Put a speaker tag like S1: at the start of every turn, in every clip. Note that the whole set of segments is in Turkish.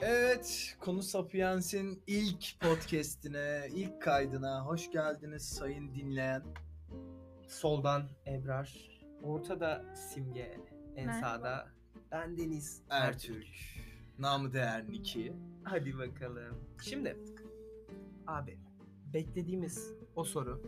S1: Evet, Konu Sapiens'in ilk podcast'ine, ilk kaydına hoş geldiniz sayın dinleyen.
S2: Soldan Ebrar. Ortada Simge. En
S3: Merhaba.
S2: sağda ben Deniz
S1: Ertürk, namı değer Niki.
S2: Hadi bakalım. Şimdi abi beklediğimiz o soru.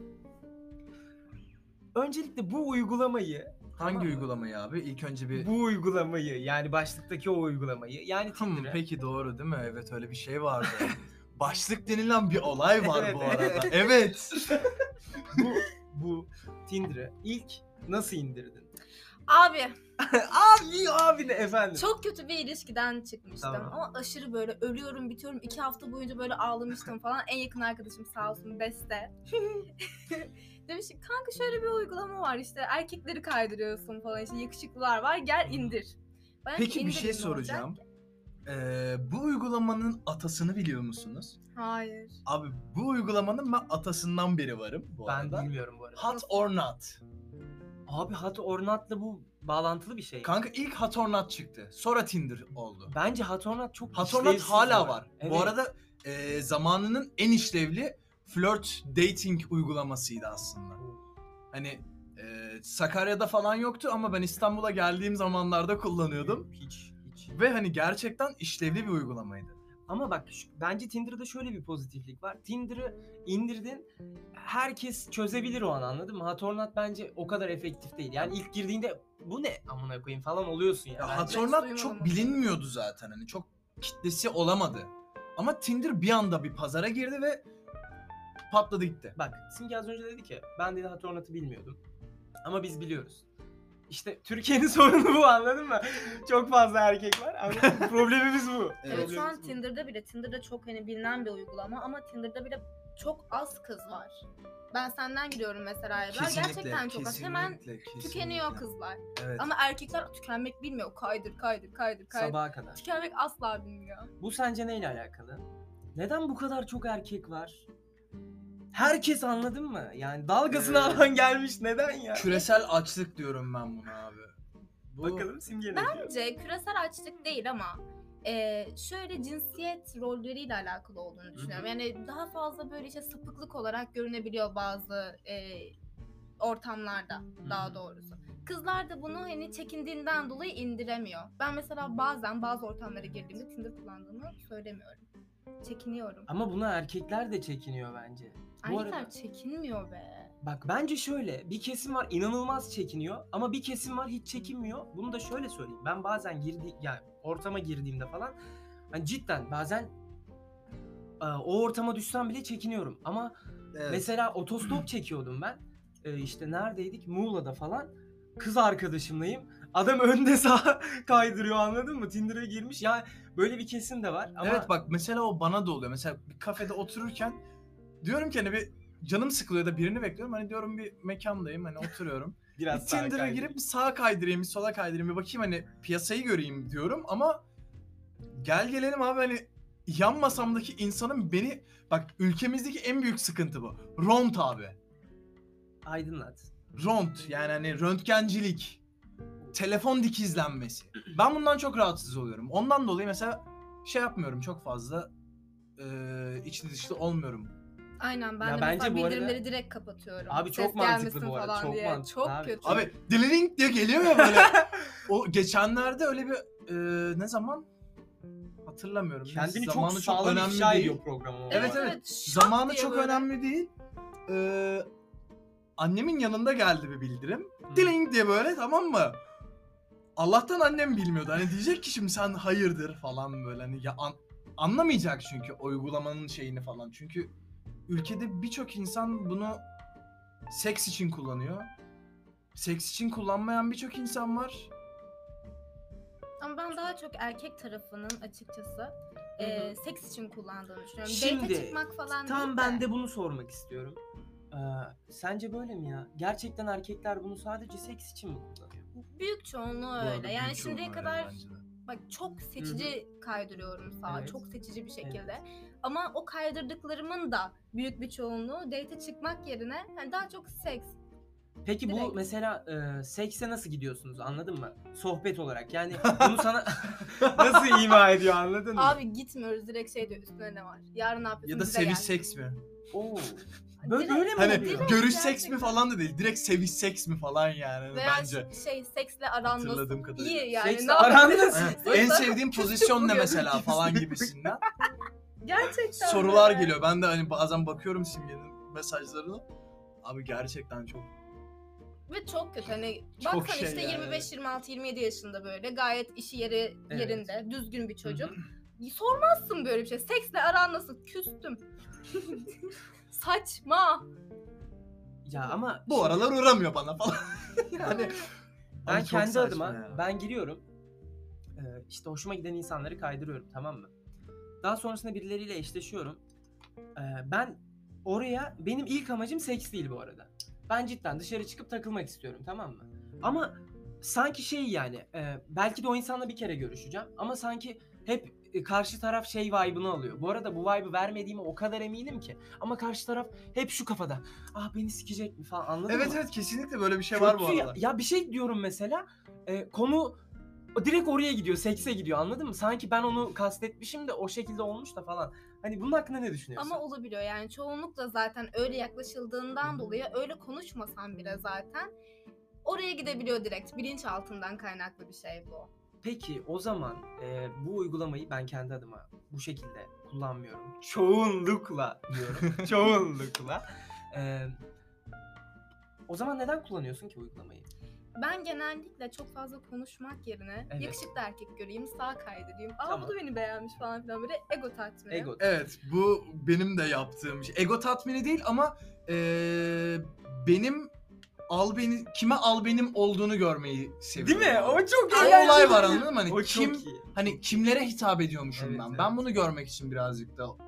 S2: Öncelikle bu uygulamayı,
S1: Hangi
S2: Tamam.
S1: uygulamayı abi? İlk önce bir...
S2: bu uygulamayı yani başlıktaki o uygulamayı yani
S1: Hmm,
S2: Tinder'ı.
S1: peki doğru değil mi? Evet öyle bir şey vardı. Başlık denilen bir olay var bu
S2: Evet.
S1: arada. Evet.
S2: bu, bu Tinder'ı ilk nasıl indirdin?
S3: Abi
S2: abi abi ne efendim?
S3: çok kötü bir ilişkiden çıkmıştım
S2: Tamam.
S3: ama aşırı böyle ölüyorum bitiyorum iki hafta boyunca böyle ağlamıştım falan en yakın arkadaşım sağ olsun Beste demiş ki kanka şöyle bir uygulama var işte erkekleri kaydırıyorsun falan işte yakışıklılar var gel indir. Ben
S1: Hmm. Peki bir
S3: indirdim
S1: şey
S3: ne olacak?
S1: soracağım. Ee, bu uygulamanın atasını biliyor musunuz?
S3: Hayır.
S1: Abi bu uygulamanın ben atasından biri varım bu
S2: ben
S1: arada.
S2: bilmiyorum bu arada.
S1: Hot or not.
S2: Abi Hat Ornat'la bu bağlantılı bir şey.
S1: Kanka ilk Hot or not çıktı. Sonra Tinder oldu.
S2: Bence Hatornat çok
S1: Hot or not
S2: işlevsiz
S1: hala
S2: bu
S1: var.
S2: Evet.
S1: Bu arada e, zamanının en işlevli flört dating uygulamasıydı aslında. Hani e, Sakarya'da falan yoktu ama ben İstanbul'a geldiğim zamanlarda kullanıyordum.
S2: Hiç hiç.
S1: Ve hani gerçekten işlevli bir uygulamaydı.
S2: Ama bak şu- bence Tinder'da şöyle bir pozitiflik var. Tinder'ı indirdin herkes çözebilir o an anladın mı? Hatornat bence o kadar efektif değil. Yani ilk girdiğinde bu ne amına koyayım falan oluyorsun ya.
S1: Ya
S2: bence.
S1: Hot or not
S3: hiç
S1: çok
S3: duymadım.
S1: bilinmiyordu zaten. Hani çok kitlesi olamadı. Ama Tinder bir anda bir pazara girdi ve patladı gitti.
S2: Bak Simge az önce dedi ki ben dedi Hatornat'ı bilmiyordum. Ama biz biliyoruz. İşte Türkiye'nin sorunu bu anladın mı? Çok fazla erkek var. anladın mı? Problemimiz bu.
S3: Evet,
S1: Evet,
S3: şu an
S2: Problemimiz bu.
S3: Tinder'da bile Tinder'da çok hani bilinen bir uygulama ama Tinder'da bile çok az kız var. Ben senden gidiyorum mesela Ebrar. Gerçekten çok az. Hemen
S1: kesinlikle.
S3: tükeniyor kızlar.
S1: Evet.
S3: Ama erkekler tükenmek bilmiyor. Kaydır kaydır kaydır kaydır.
S2: Sabaha kadar.
S3: Tükenmek asla bilmiyor.
S2: Bu sence neyle alakalı? Neden bu kadar çok erkek var? Herkes anladın mı? Yani dalgasını
S1: Evet.
S2: alan gelmiş neden ya?
S1: Küresel açlık diyorum ben buna abi. Bu,
S2: Bakalım simge ne diyor?
S3: Bence küresel açlık değil ama e, şöyle cinsiyet rolleriyle alakalı olduğunu düşünüyorum. Yani daha fazla böyle işte sapıklık olarak görünebiliyor bazı e, ortamlarda
S2: hı.
S3: daha doğrusu. Kızlar da bunu hani çekindiğinden dolayı indiremiyor. Ben mesela bazen bazı ortamlara girdiğimde Tinder kullandığımı söylemiyorum. Çekiniyorum.
S2: Ama buna erkekler de çekiniyor bence. Bu
S3: Erkekler
S2: arada
S3: çekinmiyor be.
S2: bak bence şöyle bir kesim var inanılmaz çekiniyor ama bir kesim var hiç çekinmiyor. Bunu da şöyle söyleyeyim. Ben bazen girdi yani ortama girdiğimde falan hani cidden bazen e, o ortama düşsem bile çekiniyorum ama
S1: evet.
S2: Mesela otostop çekiyordum ben. Ee, işte neredeydik? Muğla'da falan. Kız arkadaşımlayım. Adam önde sağa kaydırıyor anladın mı? Tinder'a girmiş. Yani böyle bir kesim de var. Ama
S1: Evet bak mesela o bana da oluyor. Mesela bir kafede otururken diyorum ki hani bir canım sıkılıyor da birini bekliyorum. Hani diyorum bir mekandayım hani oturuyorum. bir
S2: biraz sağa
S1: Tinder'a
S2: kaydırıyor.
S1: girip bir sağa kaydırayım bir sola kaydırayım bir bakayım hani piyasayı göreyim diyorum ama gel gelelim abi hani yan masamdaki insanın beni bak ülkemizdeki en büyük sıkıntı bu. Ront abi.
S2: aydınlat.
S1: Ront yani hani röntgencilik, telefon dikizlenmesi. Ben bundan çok rahatsız oluyorum. Ondan dolayı mesela şey yapmıyorum çok fazla eee içli dışlı olmuyorum.
S3: Aynen ben
S2: Ya
S3: de
S2: bence
S3: mesela
S2: bu arada-
S3: bildirimleri direkt kapatıyorum.
S2: Abi çok
S3: Ses
S2: mantıklı
S3: gelmesin
S2: bu arada,
S3: falan
S2: çok
S3: diye.
S2: mantıklı
S3: çok
S2: abi.
S3: kötü.
S1: Abi dililing diye geliyor ya böyle. o geçenlerde öyle bir eee, ne zaman hatırlamıyorum. Neyse,
S2: Kendini çok
S1: zamanı
S2: sağlam ifşa
S1: değil.
S2: ediyor programı. o
S1: Evet,
S2: arada.
S1: evet.
S3: şak
S1: Zamanı
S3: diye
S1: çok
S3: böyle.
S1: önemli değil. Eee, annemin yanında geldi bir bildirim.
S2: Hı.
S1: Diling diye böyle tamam mı? Allah'tan annem bilmiyordu. Hani diyecek ki şimdi sen hayırdır falan böyle. Hani ya an- anlamayacak çünkü uygulamanın şeyini falan. Çünkü ülkede birçok insan bunu seks için kullanıyor. Seks için kullanmayan birçok insan var.
S3: Ama ben daha çok erkek tarafının açıkçası
S2: Hı
S3: e,
S2: hı.
S3: seks için kullandığını düşünüyorum.
S2: Şimdi,
S3: Date çıkmak falan
S2: Tam
S3: değil
S2: ben de bunu sormak istiyorum. Ee, sence böyle mi ya? Gerçekten erkekler bunu sadece seks için mi kullanıyor?
S3: Büyük çoğunluğu
S1: Bu arada
S3: öyle.
S1: büyük
S3: Yani
S1: sorun
S3: şimdiye
S1: öyle
S3: kadar
S1: bence de.
S3: bak çok seçici kaydırıyorum sağa.
S2: Evet.
S3: Çok seçici bir şekilde. Ama o kaydırdıklarımın da büyük bir çoğunluğu date çıkmak yerine hani daha çok seks.
S2: Peki bu
S3: Direkt.
S2: mesela e, sekse nasıl gidiyorsunuz anladın mı? Sohbet olarak yani bunu sana nasıl ima ediyor anladın mı?
S3: Abi gitmiyoruz direkt şey diyor üstüne ne var. Yarın ne yapıyorsun?
S1: Ya da
S3: bize gel.
S1: seviş seks mi?
S2: Oo. Böyle,
S3: Direkt-
S2: böyle mi
S1: Hani
S2: oluyor?
S1: görüş
S3: gerçekten.
S1: seks mi falan da değil. Direkt seviş seks mi falan yani hani
S3: Veya
S1: bence.
S3: şey seksle aran nasıl?
S1: Hatırladığım kadarıyla.
S3: İyi yani.
S2: Seksle
S3: ne yapıyorsun?
S2: aran nasıl?
S1: Evet,
S3: Sırtlar-
S1: en sevdiğim pozisyon ne
S3: vuruyor.
S1: mesela falan gibisinden
S3: Gerçekten.
S1: sorular
S3: böyle.
S1: geliyor. Ben de hani bazen bakıyorum Simge'nin mesajlarına. Abi gerçekten çok
S3: Ve çok kötü hani
S1: Çok
S3: baksan
S1: şey
S3: işte
S1: yani.
S3: 25, 26, 27 yaşında böyle gayet işi yeri
S2: Evet.
S3: yerinde düzgün bir çocuk. Sormazsın böyle bir şey. Seksle aran nasıl? Küstüm. Saçma.
S2: Ya ama
S1: bu aralar uğramıyor bana falan. hani
S2: ben
S1: Abi çok
S2: kendi
S1: saçma
S2: adıma
S1: ya.
S2: ben giriyorum. Ee, işte hoşuma giden insanları kaydırıyorum tamam mı? Daha sonrasında birileriyle eşleşiyorum. Ee, ben oraya benim ilk amacım seks değil bu arada. Ben cidden dışarı çıkıp takılmak istiyorum tamam mı? Ama sanki şey yani e, belki de o insanla bir kere görüşeceğim ama sanki hep e, karşı taraf şey vibe'ını alıyor. Bu arada bu vibe'ı vermediğime o kadar eminim ki. Ama karşı taraf hep şu kafada. Ah beni sikecek mi falan anladın mı?
S1: evet evet kesinlikle böyle bir şey var bu
S2: Kötü ya.
S1: aralar.
S2: Ya bir şey diyorum mesela e, konu direkt oraya gidiyor, sekse gidiyor anladın mı? Sanki ben onu kastetmişim de o şekilde olmuş da falan. Hani bunun hakkında ne düşünüyorsun?
S3: Ama olabiliyor yani çoğunlukla zaten öyle yaklaşıldığından dolayı öyle konuşmasan bile zaten oraya gidebiliyor direkt. Bilinç altından kaynaklı bir şey bu.
S2: Peki o zaman e, bu uygulamayı ben kendi adıma bu şekilde kullanmıyorum. Çoğunlukla diyorum. Çoğunlukla. E, o zaman neden kullanıyorsun ki bu uygulamayı?
S3: Ben genellikle çok fazla konuşmak yerine
S2: Evet.
S3: yakışıklı erkek göreyim, sağ kaydedeyim. Aa
S2: Tamam.
S3: bu da beni beğenmiş falan filan böyle ego tatmini.
S2: Ego.
S1: Evet bu benim de yaptığım şey. Ego tatmini değil ama eee, benim al beni kime al benim olduğunu görmeyi
S2: Değil
S1: seviyorum.
S2: mi? O çok
S1: Bir
S2: eğlenceli.
S1: olay var anladın mı? Hani
S2: O çok
S1: kim
S2: iyi.
S1: hani kimlere hitap ediyormuşum
S2: Evet,
S1: ben.
S2: evet.
S1: Ben bunu görmek için birazcık da bu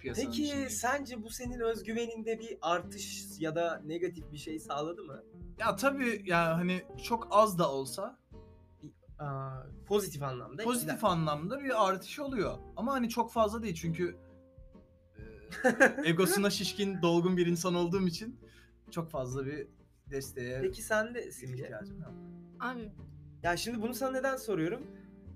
S1: piyasanın
S2: Peki
S1: içindeyim.
S2: sence bu senin özgüveninde bir artış ya da negatif bir şey sağladı mı?
S1: Ya tabii yani hani çok az da olsa
S2: Aa, pozitif anlamda.
S1: pozitif
S2: etkiler.
S1: anlamda bir artış oluyor. Ama hani çok fazla değil çünkü eee, egosuna şişkin, dolgun bir insan olduğum için çok fazla bir desteğe
S2: Peki sen de Simge.
S1: ihtiyacım yok.
S3: Abi
S2: Ya şimdi bunu sana neden soruyorum?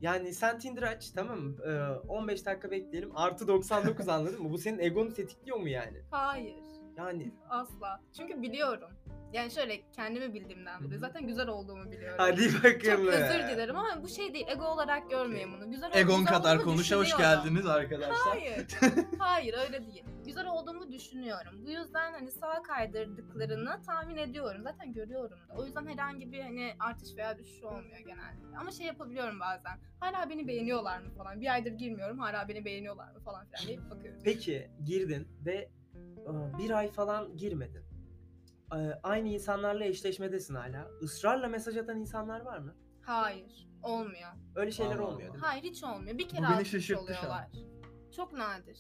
S2: Yani sen Tinder aç tamam mı? Ee, 15 dakika bekleyelim. Artı 99 anladın mı? Bu senin egonu tetikliyor mu yani?
S3: hayır.
S2: Yani
S3: Asla. Çünkü biliyorum. Yani şöyle kendimi bildiğimden
S2: Hı
S3: dolayı
S2: hı.
S3: zaten güzel olduğumu biliyorum.
S2: hadi
S3: Çok
S2: bakalım.
S3: özür dilerim ama bu şey değil. Ego olarak görmüyorum bunu. Güzel
S1: Egon
S3: güzel
S1: kadar
S3: olduğumu
S1: konuşa hoş
S3: düşünüyorum.
S1: geldiniz arkadaşlar.
S3: Hayır. Hayır öyle değil. Güzel olduğumu düşünüyorum. Bu yüzden hani sağa kaydırdıklarını tahmin ediyorum. Zaten görüyorum da. O yüzden herhangi bir hani artış veya düşüş olmuyor genelde. Ama şey yapabiliyorum bazen. Hala beni beğeniyorlar mı falan. Bir aydır girmiyorum. Hala beni beğeniyorlar mı falan filan deyip bakıyorum.
S2: Peki girdin ve e, bir ay falan girmedin. E, Aynı insanlarla eşleşmedesin hala. Israrla mesaj atan insanlar var mı?
S3: Hayır. Olmuyor.
S2: Öyle şeyler
S1: Allah
S2: olmuyor
S1: Allah.
S2: değil mi?
S3: Hayır hiç olmuyor. Bir kere
S1: beni
S3: almış
S1: şaşırttı şu an.
S3: oluyorlar. Çok nadir.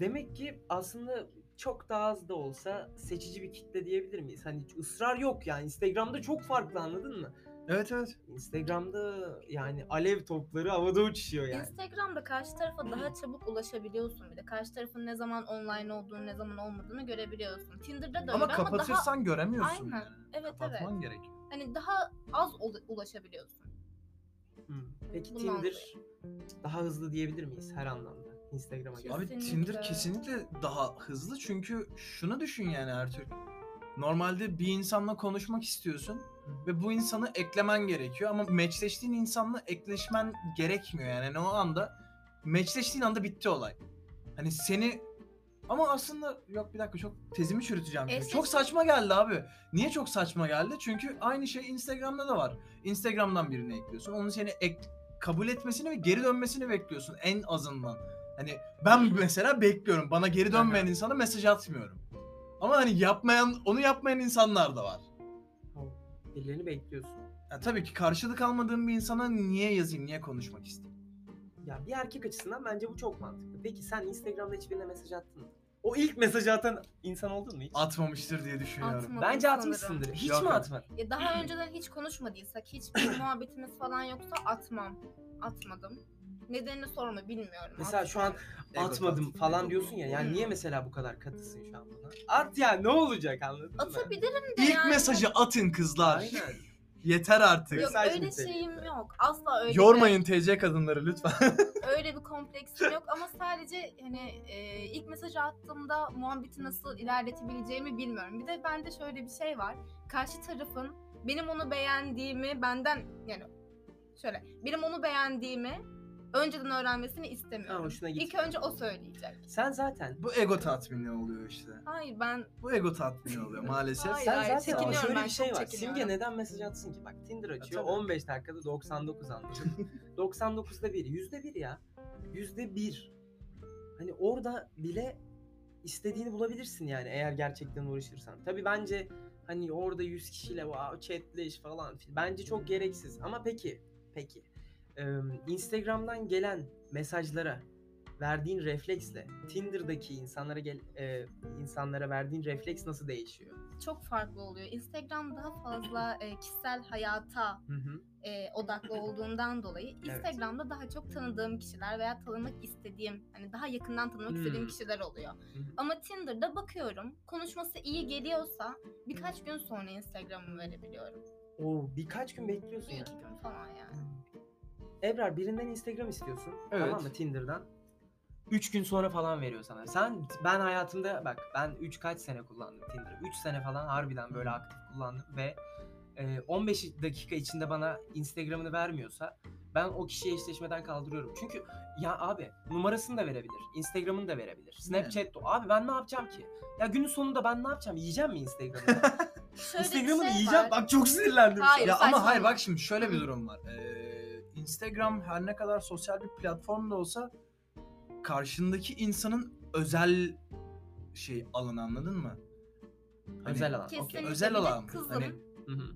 S2: Demek ki aslında çok daha az da olsa seçici bir kitle diyebilir miyiz? Hani hiç ısrar yok yani. Instagram'da çok farklı anladın mı?
S1: Evet evet.
S2: Instagram'da yani alev topları havada uçuşuyor yani.
S3: Instagram'da karşı tarafa daha çabuk ulaşabiliyorsun bir de. Karşı tarafın ne zaman online olduğunu, ne zaman olmadığını görebiliyorsun. Tinder'da da
S1: Ama
S3: öyle ama daha
S1: kapatırsan göremiyorsun.
S3: Aynen.
S1: yani.
S3: Evet evet.
S1: Kapatman gerek.
S3: Hani daha az ula- ulaşabiliyorsun.
S2: Hmm. Peki
S3: Bunu
S2: Tinder daha hızlı diyebilir miyiz her anlamda Instagram'a göre?
S1: Abi Tinder
S3: Kesinlikle.
S1: kesinlikle daha hızlı çünkü şunu düşün yani Ertürk. Normalde bir insanla konuşmak istiyorsun ve bu insanı eklemen gerekiyor ama meçleştiğin insanla ekleşmen gerekmiyor yani. Hani o anda meçleştiğin anda bitti olay. Hani seni ama aslında yok bir dakika çok tezimi çürüteceğim. şimdi.
S3: Eşleşme-
S1: Çok saçma geldi abi. Niye çok saçma geldi? Çünkü aynı şey Instagram'da da var. Instagram'dan birini ekliyorsun. Onun seni ek- kabul etmesini ve geri dönmesini bekliyorsun en azından. Hani ben mesela bekliyorum. Bana geri dönmeyen
S2: Aha.
S1: insana mesaj atmıyorum. Ama hani yapmayan, onu yapmayan insanlar da var.
S2: Birilerini bekliyorsun.
S1: Ya tabii ki karşılık almadığım bir insana niye yazayım, niye konuşmak isteyeyim?
S2: Ya bir erkek açısından bence bu çok mantıklı. Peki sen Instagram'da hiçbirine mesaj attın mı? O ilk mesajı atan insan oldun mu hiç?
S1: Atmamıştır diye düşünüyorum.
S3: Atma.
S2: Bence
S3: Sanırım.
S2: atmışsındır. Hiç
S1: Yok,
S2: mi
S1: yok.
S2: atmadın?
S3: Ya daha önceden hiç konuşmadıysak, hiç bir muhabbetimiz falan yoksa atmam. Atmadım. Nedenini sorma bilmiyorum.
S2: Mesela şu an
S1: Ego
S2: atmadım
S1: tatmin,
S2: falan
S1: ego
S2: diyorsun ya. Yani
S3: Hmm.
S2: niye mesela bu kadar katısın şu an buna? At ya ne olacak anladın mı?
S3: Atabilirim de
S1: İlk
S3: yani.
S1: mesajı atın kızlar.
S2: Aynen.
S1: Yeter artık.
S3: Yok
S2: mesaj
S3: öyle şey
S2: niteliğinde.
S3: şeyim yok. Asla öyle
S1: Yormayın TC kadınları lütfen.
S3: bir öyle bir kompleksim yok ama sadece hani e, ilk mesajı attığımda muhabbeti nasıl ilerletebileceğimi bilmiyorum. Bir de bende şöyle bir şey var. Karşı tarafın benim onu beğendiğimi benden yani şöyle benim onu beğendiğimi önceden öğrenmesini
S2: Ha,
S3: istemiyorum.
S2: hoşuna
S3: İlk
S2: gitmiyor.
S3: önce o söyleyecek.
S2: Sen zaten
S1: Bu ego tatmini oluyor işte.
S3: Hayır ben
S1: Bu ego tatmini oluyor maalesef.
S3: Hayır,
S2: Sen
S3: hayır,
S2: zaten ama
S3: çekiniyorum
S2: şöyle
S3: ben,
S2: bir şey
S3: çok
S2: var.
S3: çekiniyorum.
S2: Simge neden mesaj atsın ki? Bak Tinder açıyor
S1: Atamıyor.
S2: 15 dakikada 99 anlatıyor. 99'da biri. Yüzde bir ya. Yüzde bir. Hani orada bile istediğini bulabilirsin yani eğer gerçekten uğraşırsan. Tabii bence hani orada 100 kişiyle wow, chatleş falan. filan. Bence çok gereksiz. Ama peki, peki. Ee, Instagram'dan gelen mesajlara verdiğin refleksle Tinder'daki insanlara gel e, insanlara verdiğin refleks nasıl değişiyor?
S3: çok farklı oluyor. Instagram daha fazla e, kişisel hayata
S2: Hı hı.
S3: e, odaklı olduğundan dolayı
S2: Evet.
S3: Instagram'da daha çok tanıdığım kişiler veya tanımak istediğim hani daha yakından tanımak
S2: Hmm.
S3: istediğim kişiler oluyor.
S2: hı.
S3: Ama Tinder'da bakıyorum konuşması iyi geliyorsa birkaç gün sonra Instagram'ı verebiliyorum.
S2: Oo, birkaç gün bekliyorsun
S3: Bir
S2: ya.
S3: iki gün falan yani.
S2: Ebrar birinden Instagram istiyorsun.
S1: Evet.
S2: Tamam mı Tinder'dan? 3 gün sonra falan veriyor sana. Sen ben hayatımda bak ben 3 kaç sene kullandım Tinder'ı. 3 sene falan harbiden böyle aktif kullandım ve e, 15 dakika içinde bana Instagram'ını vermiyorsa ben o kişiye eşleşmeden kaldırıyorum. Çünkü ya abi numarasını da verebilir. Instagram'ını da verebilir. Snapchat de- Abi ben ne yapacağım ki? Ya günün sonunda ben ne yapacağım? Yiyeceğim mi Instagram'ını?
S3: Şöyle bir
S2: Instagram'ını
S3: şey
S2: yiyeceğim.
S3: var.
S2: Bak çok sinirlendim. şu an.
S3: Hayır,
S1: ya ama
S3: saçmalama.
S1: hayır bak şimdi şöyle bir durum var. Ee, Instagram her ne kadar sosyal bir platform da olsa karşındaki insanın özel şey alanı anladın mı? Hani-
S2: Özel alan. okey.
S3: Kesinlikle.
S1: Özel
S3: Bir de
S1: alan.
S3: kızım.
S1: Hani
S2: Hı hı.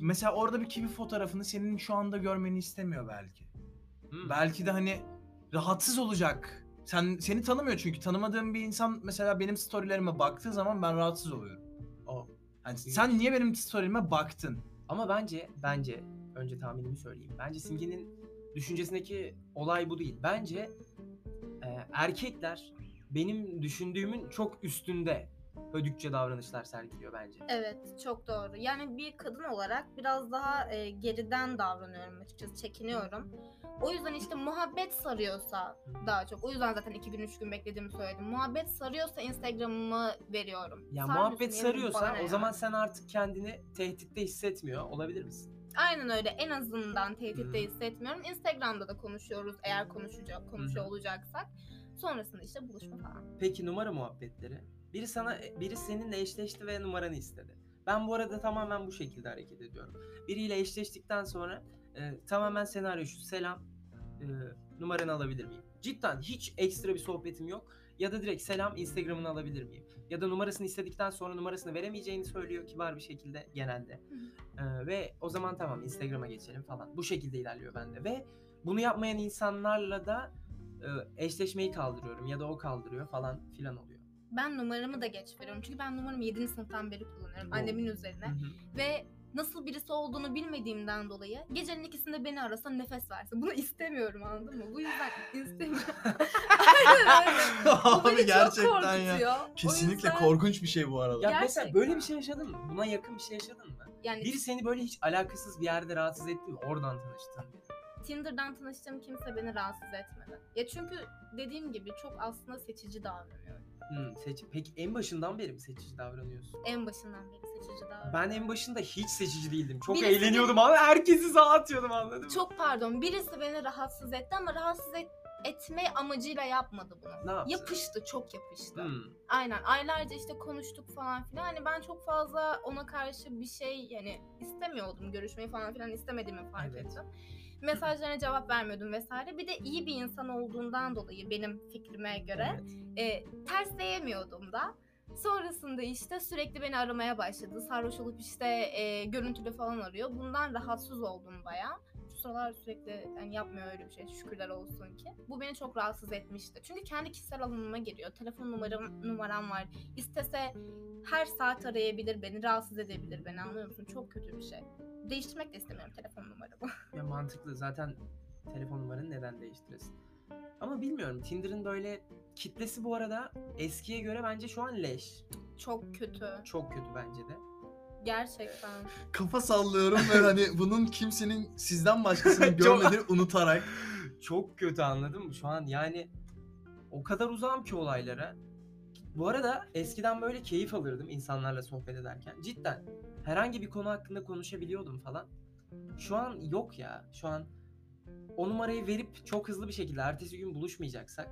S1: mesela orada bir kibi fotoğrafını senin şu anda görmeni istemiyor belki.
S2: Hı.
S1: Belki de hani rahatsız olacak. Sen seni tanımıyor çünkü tanımadığım bir insan mesela benim storylerime baktığı zaman ben rahatsız oluyorum.
S2: O.
S1: Yani sen niye benim storyime baktın?
S2: Ama bence bence önce tahminimi söyleyeyim. Bence Simge'nin düşüncesindeki olay bu değil. Bence e, erkekler benim düşündüğümün çok üstünde hödükçe davranışlar sergiliyor bence.
S3: Evet çok doğru. Yani bir kadın olarak biraz daha e, geriden davranıyorum açıkçası çekiniyorum. O yüzden işte muhabbet sarıyorsa daha çok. O yüzden zaten iki gün üç gün beklediğimi söyledim. Muhabbet sarıyorsa Instagram'ımı veriyorum.
S2: Ya
S3: Sarmıyorsa
S2: muhabbet
S3: yemin
S2: sarıyorsa
S3: bana
S2: o
S3: ya.
S2: zaman sen artık kendini tehditte hissetmiyor olabilir misin?
S3: Aynen öyle en azından tehditte
S2: Hı.
S3: hissetmiyorum. Instagram'da da konuşuyoruz eğer konuşacak konuşuyor
S2: Hı.
S3: olacaksak. Sonrasında işte buluşma falan.
S2: Peki numara muhabbetleri. Biri sana biri seninle eşleşti ve numaranı istedi. Ben bu arada tamamen bu şekilde hareket ediyorum. Biriyle eşleştikten sonra e, tamamen senaryo şu selam e, numaranı alabilir miyim? Cidden hiç ekstra bir sohbetim yok. Ya da direkt selam Instagram'ını alabilir miyim? Ya da numarasını istedikten sonra numarasını veremeyeceğini söylüyor kibar bir şekilde genelde. E, ve o zaman tamam Instagram'a geçelim falan. Bu şekilde ilerliyor bende ve bunu yapmayan insanlarla da e, eşleşmeyi kaldırıyorum ya da o kaldırıyor falan filan oluyor.
S3: Ben numaramı da geç veriyorum. Çünkü ben numaramı 7. sınıftan beri kullanıyorum.
S2: Oo.
S3: Annemin üzerine.
S2: Hı hı.
S3: ve nasıl birisi olduğunu bilmediğimden dolayı gecenin ikisinde beni arasa nefes versin. Bunu istemiyorum anladın mı? Bu yüzden istemiyorum. Aynen öyle. Bu beni çok korkutuyor. O
S1: Kesinlikle
S3: yüzden-
S1: korkunç bir şey bu arada.
S2: Ya mesela
S3: Gerçekten.
S2: böyle bir şey yaşadın mı? Buna yakın bir şey yaşadın mı?
S3: Yani
S2: Biri seni böyle hiç alakasız bir yerde rahatsız etti mi? Oradan tanıştın. biri.
S3: Tinder'dan tanıştığım kimse beni rahatsız etmedi. Ya çünkü dediğim gibi çok aslında seçici davranıyorum.
S2: Hmm, seç- Peki en başından beri mi seçici davranıyorsun?
S3: En başından beri seçici davranıyorum.
S2: Ben en başında hiç seçici değildim. Çok
S3: Birisi-
S2: eğleniyordum ama herkesi sağa atıyordum anladın mı?
S3: Çok pardon birisi beni rahatsız etti ama rahatsız et- etme amacıyla yapmadı
S2: Ne
S3: bunu.
S2: yaptı?
S3: Yapıştı, çok yapıştı.
S2: Hmm.
S3: Aynen aylarca işte konuştuk falan filan. Hani ben çok fazla ona karşı bir şey yani istemiyordum görüşmeyi falan filan istemediğimi fark
S2: Evet.
S3: ettim. Mesajlarına cevap vermiyordum vesaire. Bir de iyi bir insan olduğundan dolayı benim fikrime göre
S2: Evet.
S3: e, tersleyemiyordum da. Sonrasında işte sürekli beni aramaya başladı. Sarhoş olup işte e, görüntülü falan arıyor. Bundan rahatsız oldum bayağı. Şu sıralar sürekli yani yapmıyor öyle bir şey şükürler olsun ki. Bu beni çok rahatsız etmişti. Çünkü kendi kişisel alanıma giriyor. Telefon numaram, numaram var. İstese her saat arayabilir beni, rahatsız edebilir beni anlıyor musun? Çok kötü bir şey. Değiştirmek de istemiyorum telefon numaramı.
S2: Ya mantıklı zaten telefon numaranı neden değiştiresin. Ama bilmiyorum Tinder'ın böyle kitlesi bu arada eskiye göre bence şu an leş.
S3: Çok kötü.
S2: Çok kötü bence de.
S3: Gerçekten.
S1: Kafa sallıyorum ve hani bunun kimsenin sizden başkasını görmediğini unutarak.
S2: Çok kötü anladın mı? Şu an yani o kadar uzağım ki olaylara. Bu arada eskiden böyle keyif alırdım insanlarla sohbet ederken. Cidden herhangi bir konu hakkında konuşabiliyordum falan. Şu an yok ya. Şu an o numarayı verip çok hızlı bir şekilde ertesi gün buluşmayacaksak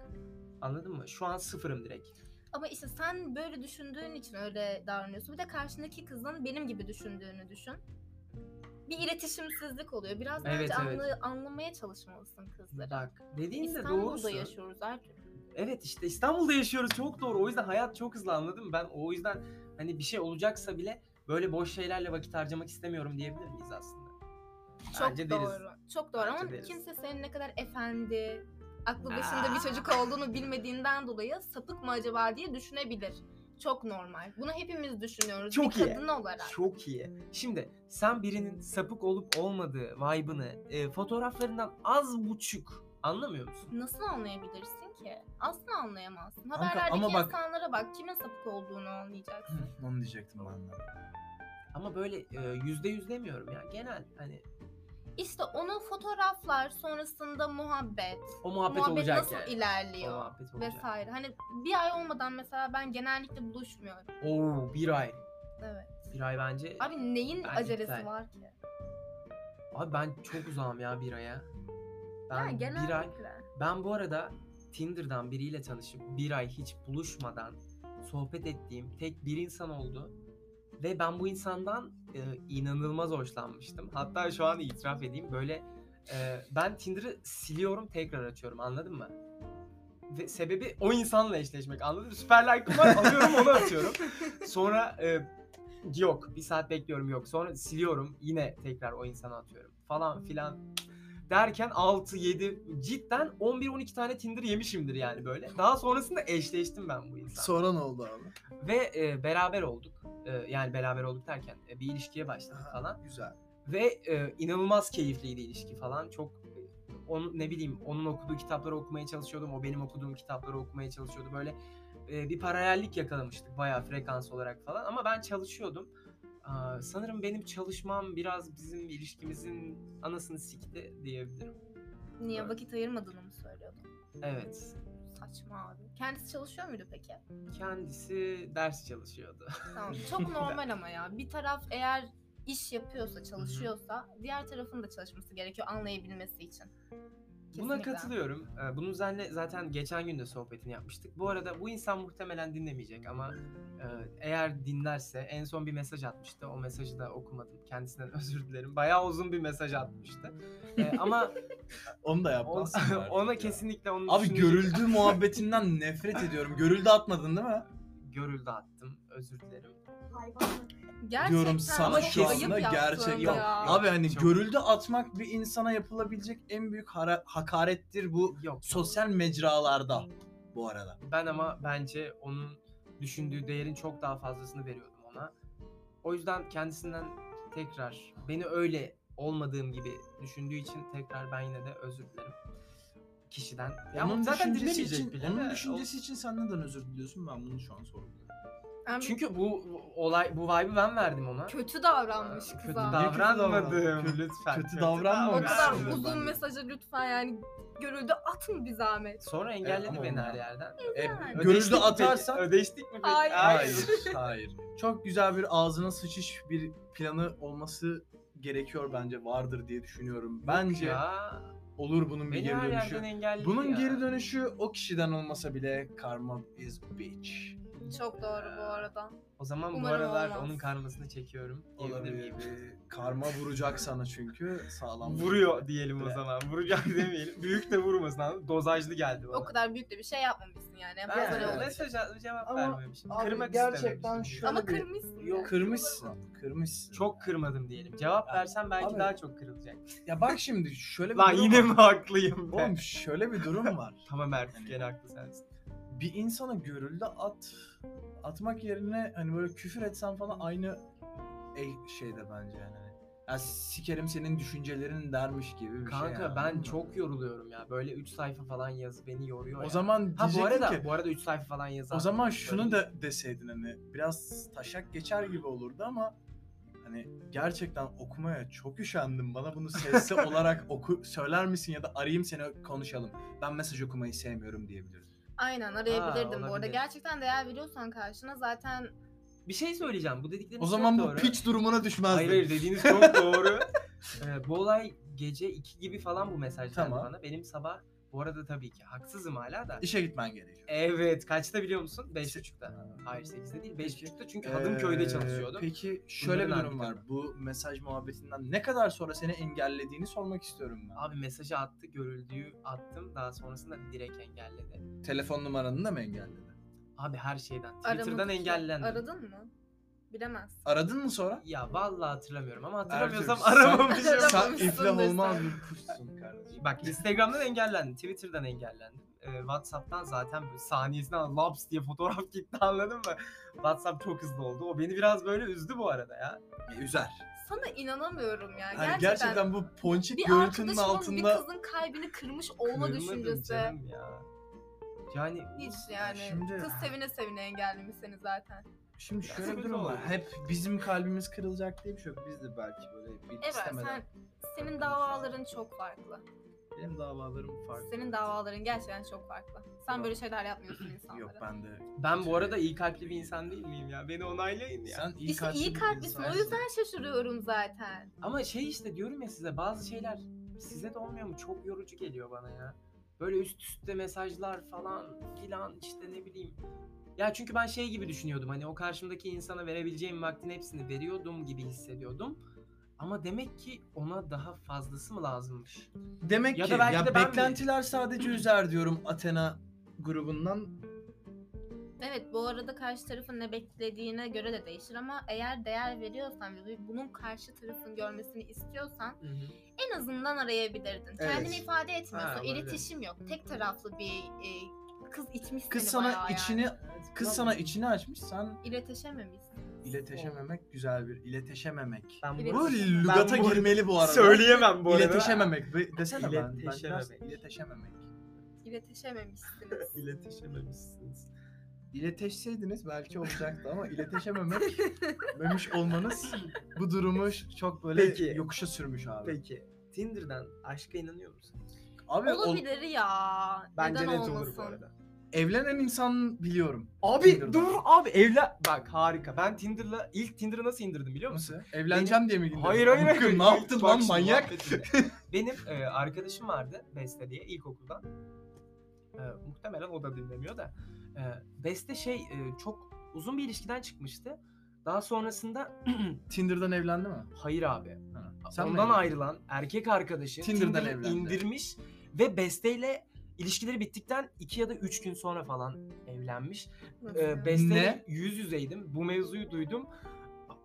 S2: anladın mı? Şu an sıfırım direkt.
S3: Ama işte sen böyle düşündüğün için öyle davranıyorsun. Bir de karşındaki kızın benim gibi düşündüğünü düşün. Bir iletişimsizlik oluyor. Biraz bence
S2: Evet, evet.
S3: anla- anlamaya çalışmalısın kızları.
S2: Bak dediğin de
S3: İstanbul'da
S2: doğrusu.
S3: yaşıyoruz artık.
S2: Evet işte İstanbul'da yaşıyoruz çok doğru. O yüzden hayat çok hızlı anladın mı? Ben o yüzden hani bir şey olacaksa bile böyle boş şeylerle vakit harcamak istemiyorum diyebilir miyiz aslında?
S3: Çok
S2: Bence
S3: doğru.
S2: deriz.
S3: Çok doğru ama
S2: Bence deriz.
S3: kimse senin ne kadar efendi, aklı başında bir
S2: Aa.
S3: çocuk olduğunu bilmediğinden dolayı sapık mı acaba diye düşünebilir. Çok normal. Bunu hepimiz düşünüyoruz
S2: Çok
S3: bir
S2: iyi.
S3: kadın olarak.
S2: Çok iyi. Şimdi sen birinin sapık olup olmadığı vibe'ını e, fotoğraflarından az buçuk anlamıyor musun?
S3: Nasıl anlayabilirsin ki? Asla anlayamazsın.
S1: Kanka,
S3: Haberlerdeki
S1: ama bak-
S3: insanlara bak kimin sapık olduğunu anlayacaksın.
S1: Onu diyecektim ben de.
S2: Ama böyle e, yüzde yüz demiyorum ya. Genel hani
S3: İşte onu fotoğraflar sonrasında muhabbet.
S2: o muhabbet,
S3: muhabbet
S2: olacak
S3: nasıl
S2: yani. O
S3: ilerliyor
S2: muhabbet olacak.
S3: vesaire. Hani bir ay olmadan mesela ben genellikle buluşmuyorum.
S2: Oo bir ay.
S3: Evet.
S2: Bir ay bence. Abi,
S3: Abi neyin
S2: Ben
S3: acelesi
S2: iptal.
S3: var ki?
S2: ben çok uzağım ya bir aya. Ben
S3: yani genellikle.
S2: bir ay Ben bu arada Tinder'dan biriyle tanışıp bir ay hiç buluşmadan sohbet ettiğim tek bir insan oldu. Ve ben bu insandan e, inanılmaz hoşlanmıştım. Hatta şu an itiraf edeyim böyle e, ben Tinder'ı siliyorum tekrar açıyorum anladın mı? Ve sebebi o insanla eşleşmek anladın mı? Süper like'ım var alıyorum onu atıyorum. Sonra e, yok bir saat bekliyorum yok. Sonra siliyorum yine tekrar o insana atıyorum falan filan derken 6 7 cidden 11 12 tane Tinder yemişimdir yani böyle. Daha sonrasında eşleştim ben bu insanla.
S1: Sonra ne oldu abi?
S2: Ve e, beraber olduk. E, yani beraber olduk derken e, bir ilişkiye başladık
S1: Aha,
S2: falan.
S1: Güzel.
S2: Ve e, inanılmaz keyifliydi ilişki falan. Çok e, onun ne bileyim onun okuduğu kitapları okumaya çalışıyordum. O benim okuduğum kitapları okumaya çalışıyordu. Böyle e, bir paralellik yakalamıştık bayağı frekans olarak falan. Ama ben çalışıyordum. Aa, sanırım benim çalışmam biraz bizim ilişkimizin anasını sikti diyebilirim.
S3: Niye
S2: Evet.
S3: vakit ayırmadığını mı söylüyordun?
S2: Evet.
S3: Saçma abi. Kendisi çalışıyor muydu peki?
S2: Kendisi ders çalışıyordu.
S3: Tamam. Çok normal ama ya. Bir taraf eğer iş yapıyorsa, çalışıyorsa diğer tarafın da çalışması gerekiyor anlayabilmesi için.
S2: Buna
S3: Kesinlikle.
S2: katılıyorum. Ee, Bunun üzerine zaten geçen gün de sohbetini yapmıştık. Bu arada bu insan muhtemelen dinlemeyecek ama e, eğer dinlerse en son bir mesaj atmıştı. O mesajı da okumadım. Kendisinden özür dilerim. Bayağı uzun bir mesaj atmıştı. Ee, ama
S1: Onu da
S2: o-
S1: yapmazsın. artık
S2: ona
S1: ya.
S2: kesinlikle onu
S1: Abi
S2: düşünecek-
S1: görüldü muhabbetinden nefret ediyorum. Görüldü atmadın değil mi?
S2: Görüldü attım. Özür dilerim.
S3: Gerçekten
S1: diyorum sana
S3: çok
S2: şu
S3: ayıp
S2: anda
S3: yaptın
S1: gerçek
S2: yok.
S3: ya.
S2: Yok.
S1: Abi hani
S2: Çok-
S1: görüldü atmak bir insana yapılabilecek en büyük hara- hakarettir bu
S2: Yok.
S1: sosyal mecralarda bu arada.
S2: Ben ama bence onun düşündüğü değerin çok daha fazlasını veriyordum ona. O yüzden kendisinden tekrar beni öyle olmadığım gibi düşündüğü için tekrar ben yine de özür dilerim kişiden. Ya ama
S1: onun
S2: zaten
S1: düşüncesi
S2: dinlemeyecek
S1: için,
S2: bile
S1: onun
S2: de.
S1: düşüncesi için sen neden özür diliyorsun? Ben bunu şu an sorguluyorum.
S3: Ben bir
S2: Çünkü bu olay bu vibe'ı ben verdim ona.
S3: kötü davranmış
S2: Ee,
S3: kıza.
S2: Kötü
S1: davranmadım.
S2: davranmadım
S1: Kötü-
S2: lütfen.
S1: kötü davranmamış.
S3: O kadar
S1: Ben de-
S3: uzun mesajı lütfen yani görüldü atın bir zahmet.
S2: Sonra engelledi
S1: ama
S2: beni
S1: onlar-
S2: her yerden.
S1: E,
S3: Yani.
S1: görüldü
S2: Ödeştik mi peki?
S1: atarsan
S2: Ödeştik mi peki?
S3: Hayır.
S1: Hayır, hayır. Çok güzel bir ağzına sıçış bir planı olması gerekiyor bence vardır diye düşünüyorum. Bence
S2: Ya,
S1: olur bunun bir
S2: beni
S1: geri
S2: her
S1: dönüşü.
S2: yerden engelledi
S1: Bunun
S2: ya.
S1: geri dönüşü o kişiden olmasa bile karma is bitch.
S3: Çok doğru bu arada.
S2: O zaman bu
S3: Umarım
S2: aralar
S3: olmaz.
S2: onun karmasını çekiyorum. diyebilir
S1: Olabilir.
S2: miyim?
S1: Ee, Karma vuracak sana çünkü sağlam.
S2: Vuruyor diyelim o
S1: Evet.
S2: zaman. Vuracak demeyelim. Büyük de vurmasın abi. Dozajlı geldi bana.
S3: O kadar büyük de bir şey yapmamışsın yani.
S2: Ben
S3: Yapmazsan
S1: Yani,
S3: olur.
S1: evet.
S2: mesaj atmış, cevap
S1: Ama
S2: vermemişim.
S1: abi
S2: Kırmak
S1: gerçekten
S2: istememişim.
S1: şöyle-
S3: Ama
S1: bir-
S3: kırmışsın.
S2: Yok.
S3: yani.
S1: Kırmışsın. Kırmışsın.
S2: Çok kırmadım diyelim. Cevap
S1: Ya,
S2: versen belki
S1: abi-
S2: daha çok kırılacak.
S1: Ya bak şimdi şöyle bir
S2: Lan
S1: durum
S2: yine
S1: var.
S2: mi haklıyım ben?
S1: Oğlum şöyle bir durum var.
S2: Tamam Ertuğ gene haklı sensin.
S1: bir insana görüldü at atmak yerine hani böyle küfür etsen falan aynı e- şeyde bence yani. Hani Ya sikerim senin düşüncelerin dermiş gibi bir şey.
S2: Kanka
S1: yani, anladın
S2: ben
S1: mı?
S2: çok yoruluyorum ya. Böyle 3 sayfa falan yaz beni yoruyor
S1: O
S2: ya.
S1: zaman
S2: Ha bu
S1: diyecektim
S2: arada
S1: ki
S2: bu arada 3 sayfa falan yazar.
S1: o zaman şunu da deseydin hani biraz taşak geçer gibi olurdu ama hani gerçekten okumaya çok üşendim. Bana bunu sesli olarak oku söyler misin ya da arayayım seni konuşalım. Ben mesaj okumayı sevmiyorum diyebilirdim.
S3: Aynen arayabilirdim bu arada.
S2: olabilir.
S3: Gerçekten değer veriyorsan karşına zaten
S2: bir şey söyleyeceğim. Bu dedikleriniz
S1: O zaman
S2: çok
S1: bu
S2: doğru.
S1: piç durumuna düşmezdim.
S2: Hayır hayır dediğiniz çok doğru. Ee, bu olay gece 2 gibi falan bu mesaj geldi
S1: Tamam.
S2: bana. Benim sabah bu arada tabii ki haksızım hala da.
S1: İşe gitmen gerekiyor.
S2: Evet kaçta biliyor musun?
S1: Se-
S2: 5.30'da. Hayır 8'de değil
S1: Peki.
S2: 5.30'da çünkü Hadımköy'de
S1: Ee,
S2: çalışıyordum.
S1: Peki şöyle
S2: Bunların
S1: bir durum
S2: harbi
S1: var. Bu mesaj muhabbetinden ne kadar sonra seni engellediğini sormak istiyorum ben.
S2: Abi mesajı attı görüldüğü attım daha sonrasında direkt engelledi.
S1: Telefon numaranı da mı engelledi?
S2: Abi her şeyden.
S3: aramadı
S2: Twitter'dan
S3: ki.
S2: engellendim.
S3: Aradın mı? Bilemezsin.
S1: Aradın mı sonra?
S2: Ya vallahi hatırlamıyorum ama hatırlamıyorsam
S1: Ertuğrul,
S2: aramamışım.
S1: Sen, sen
S3: Aramamışsındır
S1: iflah
S3: sen.
S1: olmaz bir kuşsun kardeşim.
S2: Bak Instagram'dan engellendim, Twitter'dan engellendim. Ee, WhatsApp'tan zaten böyle saniyesine laps diye fotoğraf gitti anladın mı? WhatsApp çok hızlı oldu. O beni biraz böyle üzdü bu arada ya.
S1: E, Üzer.
S3: Sana inanamıyorum ya.
S1: Yani
S3: gerçekten.
S1: gerçekten, bu ponçik
S3: bir
S1: görüntünün
S3: arkadaşımın bir
S1: altında...
S3: kızın kalbini kırmış olma
S2: Kırmadım
S3: düşüncesi.
S2: canım ya. Yani
S3: Hiç yani.
S1: Şimdi-
S3: Kız sevine sevine engellemiş seni zaten.
S1: Şimdi
S2: Ya
S1: şöyle bir
S2: sıkıntı
S1: durum var.
S2: oldu.
S1: Hep bizim kalbimiz kırılacak diye bir şey yok. Biz de belki böyle bir
S3: Evet
S1: istemeden.
S3: sen senin davaların çok farklı.
S1: Benim davalarım farklı.
S3: Senin davaların gerçekten çok farklı. Sen
S1: Yok.
S3: böyle şeyler yapmıyorsun insanlara.
S1: Yok ben de.
S2: ben bu arada iyi kalpli bir insan değil miyim ya? Beni onaylayın ya.
S1: Sen iyi
S3: İşte
S1: kalpli
S3: iyi
S1: bir
S3: kalplisin. O
S1: insansın.
S3: yüzden şaşırıyorum zaten.
S2: Ama şey işte diyorum ya size bazı şeyler size de olmuyor mu? Çok yorucu geliyor bana ya. Böyle üst üste mesajlar falan filan işte ne bileyim. Ya çünkü ben şey gibi düşünüyordum hani o karşımdaki insana verebileceğim vaktin hepsini veriyordum gibi hissediyordum. Ama demek ki ona daha fazlası mı lazımmış?
S1: Demek
S2: Ya
S1: ki
S2: da belki
S1: ya
S2: de ben mi?
S1: beklentiler sadece üzer diyorum Athena grubundan.
S3: Evet bu arada karşı tarafın ne beklediğine göre de değişir ama eğer değer veriyorsan ve bu- bunun karşı tarafın görmesini istiyorsan en azından arayabilirdin.
S1: Evet.
S3: Kendini ifade etmiyorsun.
S2: Ha, olabilir.
S3: iletişim yok. Tek taraflı bir e, kız itmiş
S1: Kız
S3: seni
S1: sana
S3: bayağı yani.
S1: içini kız sana içini açmış. Sen
S3: İletişememişsin.
S1: iletişememek güzel bir iletişememek.
S2: Ben
S3: Bu
S1: Bu
S3: İletişememek.
S1: lügata
S2: Ben bu-
S1: girmeli bu arada.
S2: söyleyemem bu arada.
S1: İletişememek. Be- Desene ben. ben biraz
S2: İletişememek.
S1: iletişememek.
S3: İletişememişsiniz.
S2: İletişememişsiniz.
S1: İletişseydiniz belki olacaktı ama iletişememek memiş olmanız bu durumu ş- çok böyle
S2: Peki.
S1: yokuşa sürmüş abi.
S2: Peki Tinder'dan aşka inanıyor musunuz?
S1: Abi ol-
S3: Olabilir ya.
S2: Bence
S3: Neden
S2: net olur
S3: olmasın?
S2: bu arada.
S1: evlenen insan biliyorum.
S2: Abi
S1: Tinder'dan.
S2: dur abi evlen. Bak harika. Ben Tinder'la ilk Tinder'ı nasıl indirdim biliyor musun?
S1: Nasıl? Evleneceğim diye mi gittin?
S2: Hayır hayır.
S1: Bakın,
S2: hayır.
S1: Ne yaptın
S2: Bak
S1: lan
S2: şimdi
S1: manyak?
S2: muhabbetinde. Benim e, arkadaşım vardı Beste diye ilkokuldan. E, muhtemelen o da dinlemiyor da. E, Beste şey e, çok uzun bir ilişkiden çıkmıştı. Daha sonrasında
S1: Tinder'dan evlendi mi?
S2: hayır abi.
S1: Ha.
S2: ondan
S1: mi?
S2: ayrılan erkek arkadaşı
S1: Tinder'dan
S2: Tinder'ı
S1: evlendi.
S2: indirmiş ve Beste ile ilişkileri bittikten 2 ya da 3 gün sonra falan evlenmiş.
S3: Nasıl ya?
S1: Ee,
S2: e, Beste
S1: Ne?
S2: yüz yüzeydim. Bu mevzuyu duydum.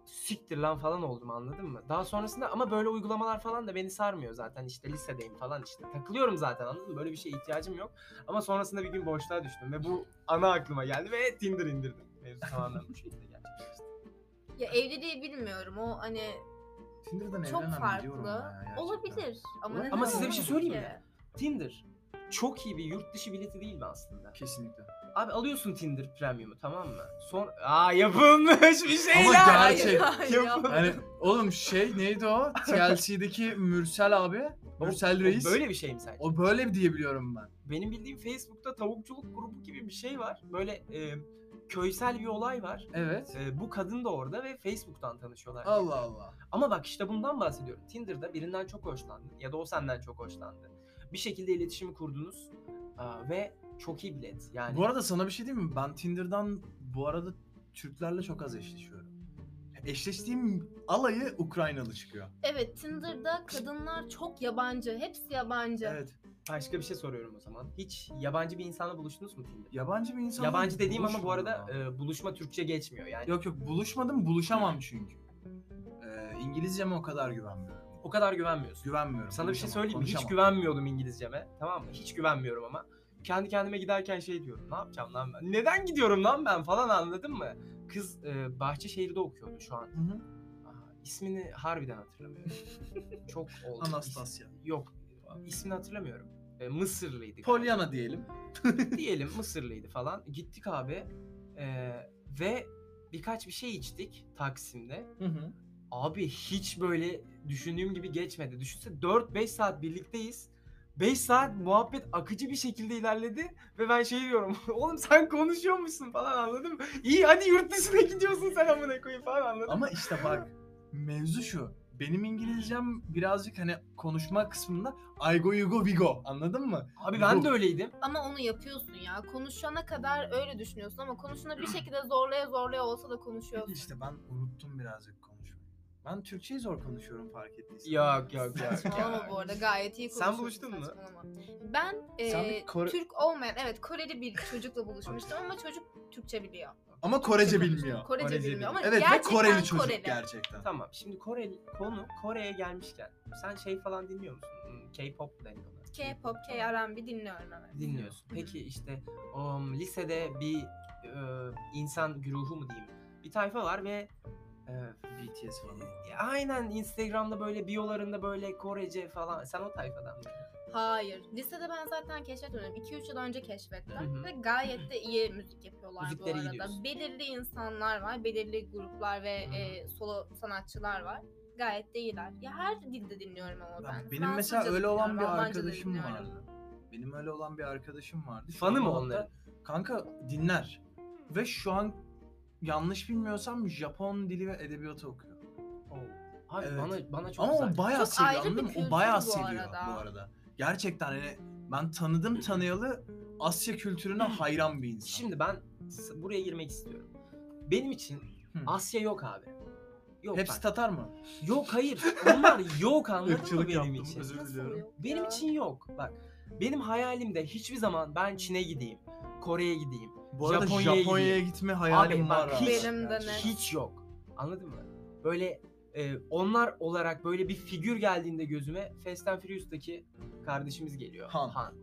S2: Siktir lan falan oldum anladın mı? Daha sonrasında ama böyle uygulamalar falan da beni sarmıyor zaten işte lisedeyim falan işte. Takılıyorum zaten anladın mı? Böyle bir şeye ihtiyacım yok. Ama sonrasında bir gün boşluğa düştüm ve bu ana aklıma geldi ve Tinder indirdim. Mevzu tamamen bu şekilde gerçekleşti.
S3: Ya evliliği bilmiyorum. O hani
S1: Tinder'dan
S3: çok
S1: evlenen biliyorum
S3: farklı.
S1: ya gerçekten.
S3: Olabilir. Ama,
S1: Olabilir.
S3: neden
S1: Ama size bir şey
S3: olmasın
S2: söyleyeyim
S3: ki?
S2: mi? Tinder çok iyi bir yurt dışı bileti değil mi aslında?
S1: Kesinlikle.
S2: Abi alıyorsun Tinder Premium'u tamam mı? Son... Aa yapılmış bir şey şeyler!
S1: gerçek-
S3: Hayır, hayır,
S2: Yapın.
S3: yapma.
S1: Yani oğlum şey neydi o? TLC'deki Mürsel abi.
S2: O-
S1: Mürsel
S2: o
S1: Reis.
S2: Böyle bir şey mi sence?
S1: O böyle diyebiliyorum ben.
S2: benim bildiğim Facebook'ta tavukçuluk grubu gibi bir şey var. Böyle e, köysel bir olay var.
S1: Evet.
S2: E, bu kadın da orada ve Facebook'tan tanışıyorlar.
S1: Allah Allah.
S2: Ama bak işte bundan bahsediyorum. Tinder'da birinden çok hoşlandın ya da o senden çok hoşlandı. Bir şekilde iletişimi kurdunuz aa, ve çok iyi bilet. Yani
S1: Bu arada sana bir şey diyeyim mi? Ben Tinder'dan bu arada Türklerle çok az eşleşiyorum. Eşleştiğim alayı Ukraynalı çıkıyor.
S3: Evet Tinder'da kadınlar çok yabancı. Hepsi yabancı.
S1: Evet.
S2: başka bir şey soruyorum o zaman. Hiç yabancı bir insanla buluştunuz mu Tinder'da?
S1: Yabancı bir insan.
S2: Yabancı dediğim ama bu arada e, buluşma Türkçe geçmiyor yani.
S1: Yok yok buluşmadım buluşamam çünkü. Ee, İngilizceme o kadar güvenmiyorum.
S2: O kadar güvenmiyorsun.
S1: Güvenmiyorum.
S2: Sana bir şey
S1: konuşamam,
S2: söyleyeyim mi? Hiç
S1: konuşamam.
S2: güvenmiyordum İngilizceme. Tamam mı? Hiç güvenmiyorum ama. Kendi kendime giderken şey diyorum. Ne yapacağım lan ben? Neden gidiyorum lan ben falan anladın mı? Kız e, Bahçeşehir'de okuyordu şu an.
S1: Hı hı.
S2: Aa, İsmini harbiden hatırlamıyorum. Çok oldu.
S1: Anastasya.
S2: İs- Yok. ismini hatırlamıyorum. E, Mısırlıydı. galiba.
S1: Polyana diyelim.
S2: diyelim Mısırlıydı falan. Gittik abi. e, ve birkaç bir şey içtik Taksim'de.
S1: Hı hı.
S2: Abi hiç böyle düşündüğüm gibi geçmedi. Düşünsene 4-5 saat birlikteyiz. 5 saat muhabbet akıcı bir şekilde ilerledi ve ben şey diyorum. Oğlum sen konuşuyormuşsun falan anladın mı? İyi hadi yurt dışına gidiyorsun sen amına koyayım falan anladın mı?
S1: Ama işte bak mevzu şu. Benim İngilizcem birazcık hani konuşma kısmında I go you go we go anladın mı?
S2: Abi ben
S1: bu-
S2: de öyleydim.
S3: Ama onu yapıyorsun ya. Konuşana kadar öyle düşünüyorsun ama konuşana bir şekilde zorlaya zorlaya olsa da konuşuyorsun.
S1: İşte ben unuttum birazcık konuşmayı. Ben Türkçeyi zor konuşuyorum fark ettiysen.
S2: Yok yok yok.
S3: Saçmalama bu arada gayet iyi
S2: Sen
S3: konuşuyorsun.
S2: buluştun mu?
S3: saçmalama. Ben
S1: Sen bir
S3: e,
S1: Kore-
S3: Türk olmayan evet Koreli bir çocukla buluşmuştum ama çocuk Türkçe biliyor.
S1: Ama Korece bilmiyor.
S3: Korece,
S2: Korece
S3: bilmiyor ama
S1: Evet ve
S3: gerçekten
S1: Koreli çocuk
S3: Koreli.
S1: gerçekten.
S2: Tamam şimdi Kore konu Kore'ye gelmişken sen şey falan dinliyor musun? Hmm, K-pop deniyor. ona.
S3: K-pop, K-R&B dinliyorum evet.
S2: dinliyorsun.
S3: Hı.
S2: Peki işte um, lisede bir e, insan güruhu mu diyeyim? Bir tayfa var ve e,
S1: BTS falan.
S2: e, aynen Instagram'da böyle biyolarında böyle Korece falan. Sen o tayfadan mı?
S3: Hayır. Lisede ben zaten keşfetmedim. 2-3 yıl önce keşfettim.
S2: Hı hı.
S3: Ve gayet de iyi müzik yapıyorlar
S2: Müzikleri iyi
S3: bu arada.
S2: diyorsun.
S3: Belirli insanlar var. Belirli gruplar ve
S2: Hı hı.
S3: e, solo sanatçılar var. Gayet de iyiler. Ya her dilde dinliyorum ama ben.
S1: Benim mesela
S3: Fransızca
S1: öyle olan bir
S3: dinliyorum, Almanca da
S1: arkadaşım
S3: dinliyorum.
S1: vardı. Benim öyle olan bir arkadaşım vardı. Şu
S2: Fanı
S1: an
S2: mı
S1: hatta-
S2: onların?
S1: Kanka dinler. Ve şu an yanlış bilmiyorsam Japon dili ve edebiyatı okuyor.
S2: Abi
S1: Evet.
S2: bana bana çok
S1: Ama
S2: güzel.
S1: o bayağı
S3: Çok
S1: seviyor
S3: ayrı bir
S1: anladın mı?
S3: kültür
S1: O bayağı
S3: bu
S1: seviyor
S3: arada.
S1: bu arada. Gerçekten hani ben tanıdım tanıyalı Asya kültürüne hayran bir insan.
S2: Şimdi ben s- buraya girmek istiyorum. Benim için
S1: Hı.
S2: Asya yok abi. Yok
S1: Hepsi
S2: bak.
S1: Tatar mı?
S2: Yok hayır. Onlar yok anladın mı
S1: Irkçılık
S2: benim
S1: yaptım
S2: için?
S1: özür
S3: Nasıl
S1: diliyorum.
S3: yok
S2: Benim
S3: ya?
S2: için yok. Bak benim hayalimde hiçbir zaman ben Çin'e gideyim, Kore'ye gideyim,
S1: Bu arada
S2: Japonya'ya
S1: Japonya'ya,
S2: gideyim.
S1: gitme hayalim
S2: Abi
S1: var.
S2: bak
S1: abi.
S2: hiç-
S3: Benim de ne? Evet.
S2: hiç yok. Anladın mı? Böyle e, onlar olarak böyle bir figür geldiğinde gözüme Fast and Furious'taki kardeşimiz geliyor.
S1: Han.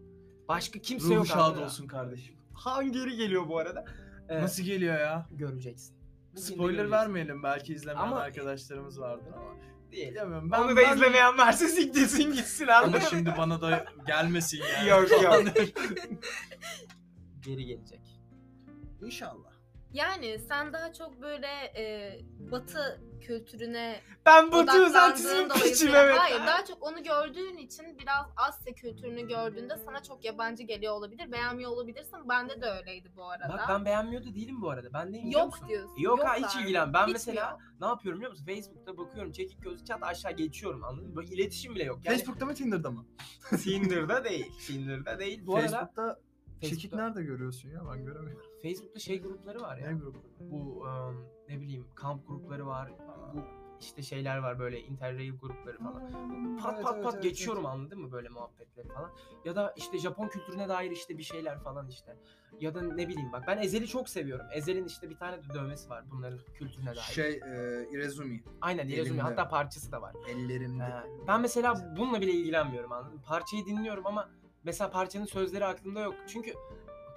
S2: Başka kimse
S1: Ruhu
S2: yok.
S1: şad
S2: abi.
S1: olsun kardeşim.
S2: Han geri geliyor bu arada. E,
S1: Nasıl geliyor ya?
S2: göreceksin. Bugün de
S1: Spoiler
S2: göreceksin.
S1: vermeyelim belki izlemeyen
S2: Ama-
S1: arkadaşlarımız vardır ama.
S2: Diyelim.
S1: Bilemiyorum.
S2: Onu da izlemeyen varsa siktirsin gitsin anladın
S1: Ama
S2: mı?
S1: şimdi bana da gelmesin yani.
S2: Yok, yok. Geri gelecek.
S1: İnşallah.
S3: Yani sen daha çok böyle e, batı kültürüne
S2: Ben Batu Özentisi'nin
S3: odaklandığın
S2: piçim
S3: dolayısıyla
S2: evet.
S3: hayır daha çok onu gördüğün için biraz Asya kültürünü gördüğünde sana çok yabancı geliyor olabilir beğenmiyor olabilirsin bende de öyleydi bu arada.
S2: Bak ben beğenmiyordu değilim bu arada. Ben neyim biliyor
S3: Yok
S2: musun?
S3: diyorsun.
S2: Yok, ha hiç
S3: abi.
S2: ilgilen. Ben
S3: Hiç
S2: mesela
S3: mi
S2: ne yapıyorum biliyor musun? Facebook'ta bakıyorum çekik gözü çat aşağı geçiyorum anladın mı? Böyle iletişim bile yok. Yani
S1: Facebook'ta mı Tinder'da mı?
S2: Tinder'da değil. Tinder'da değil. Bu arada
S1: Facebook'ta çekik
S2: Facebook'ta-
S1: nerede görüyorsun ya ben göremiyorum.
S2: Facebook'ta şey grupları var
S1: Ne
S2: ya.
S1: grubu?
S2: Bu ım, ne bileyim kamp grupları var. Bu işte şeyler var böyle interrail grupları falan. Pat
S1: Evet,
S2: pat
S1: evet,
S2: pat
S1: evet,
S2: geçiyorum anladın mı böyle muhabbetleri falan. Ya da işte Japon kültürüne dair işte bir şeyler falan işte. Ya da ne bileyim bak ben Ezel'i çok seviyorum. Ezel'in işte bir tane de dövmesi var bunların kültürüne dair.
S1: Şey e, Irezumi
S2: Aynen Irezumi
S1: elimde.
S2: hatta parçası da var.
S1: ellerimde.
S2: Ee, Ben mesela bununla bile ilgilenmiyorum anladın mı? Parçayı dinliyorum ama mesela parçanın sözleri aklımda yok. Çünkü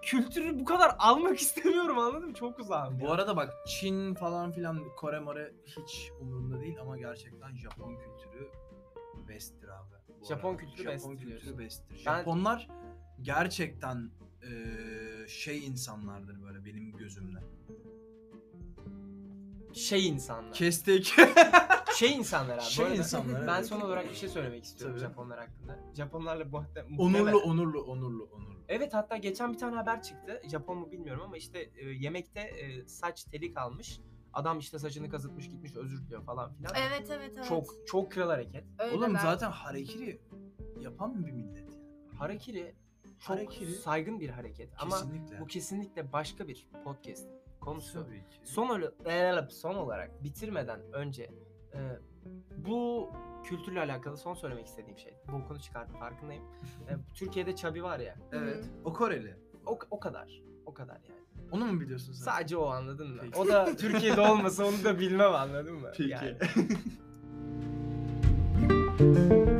S2: kültürü bu kadar almak istemiyorum anladın mı? Çok uzağım.
S1: Bu
S2: ya.
S1: arada bak Çin falan filan Kore More hiç umurumda değil ama gerçekten Japon kültürü besttir abi. bu
S2: Japon
S1: arada.
S2: kültürü best
S1: Japon
S2: diyorsun.
S1: kültürü besttir.
S2: Ben-
S1: Japonlar gerçekten eee, şey insanlardır böyle benim gözümle.
S2: şey insanlar.
S1: Kestik.
S2: şey insanlar abi. bu
S1: Şey
S2: arada
S1: insanlar,
S2: Ben
S1: evet.
S2: son olarak bir şey söylemek istiyorum
S1: Tabii.
S2: Japonlar hakkında. Japonlarla bu hatta
S1: onurlu, onurlu, onurlu, onurlu.
S2: Evet hatta geçen bir tane haber çıktı. Japon mu bilmiyorum ama işte e, yemekte e, saç teli kalmış. Adam işte saçını kazıtmış gitmiş özür diliyor falan filan.
S3: o? Evet evet evet.
S2: Çok çok kral hareket.
S3: Öyle
S1: Oğlum
S3: ben-
S1: zaten harekiri yapan bir millet yani.
S2: Harakiri çok
S1: Harakiri-
S2: saygın bir hareket ama
S1: Kesinlikle.
S2: bu kesinlikle başka bir podcast konusu.
S1: Tabii ki.
S2: Son, ola- son olarak bitirmeden önce e, bu kültürle alakalı son söylemek istediğim şey. Bu konu çıkardım farkındayım. E, Türkiye'de Çabi var ya
S1: Evet. O Koreli.
S2: o, o kadar. O kadar yani.
S1: Onu mu biliyorsun sen?
S2: Sadece o anladın mı?
S1: Peki.
S2: O da Türkiye'de olmasa onu da bilmem anladın mı?
S1: Peki.
S2: Yani.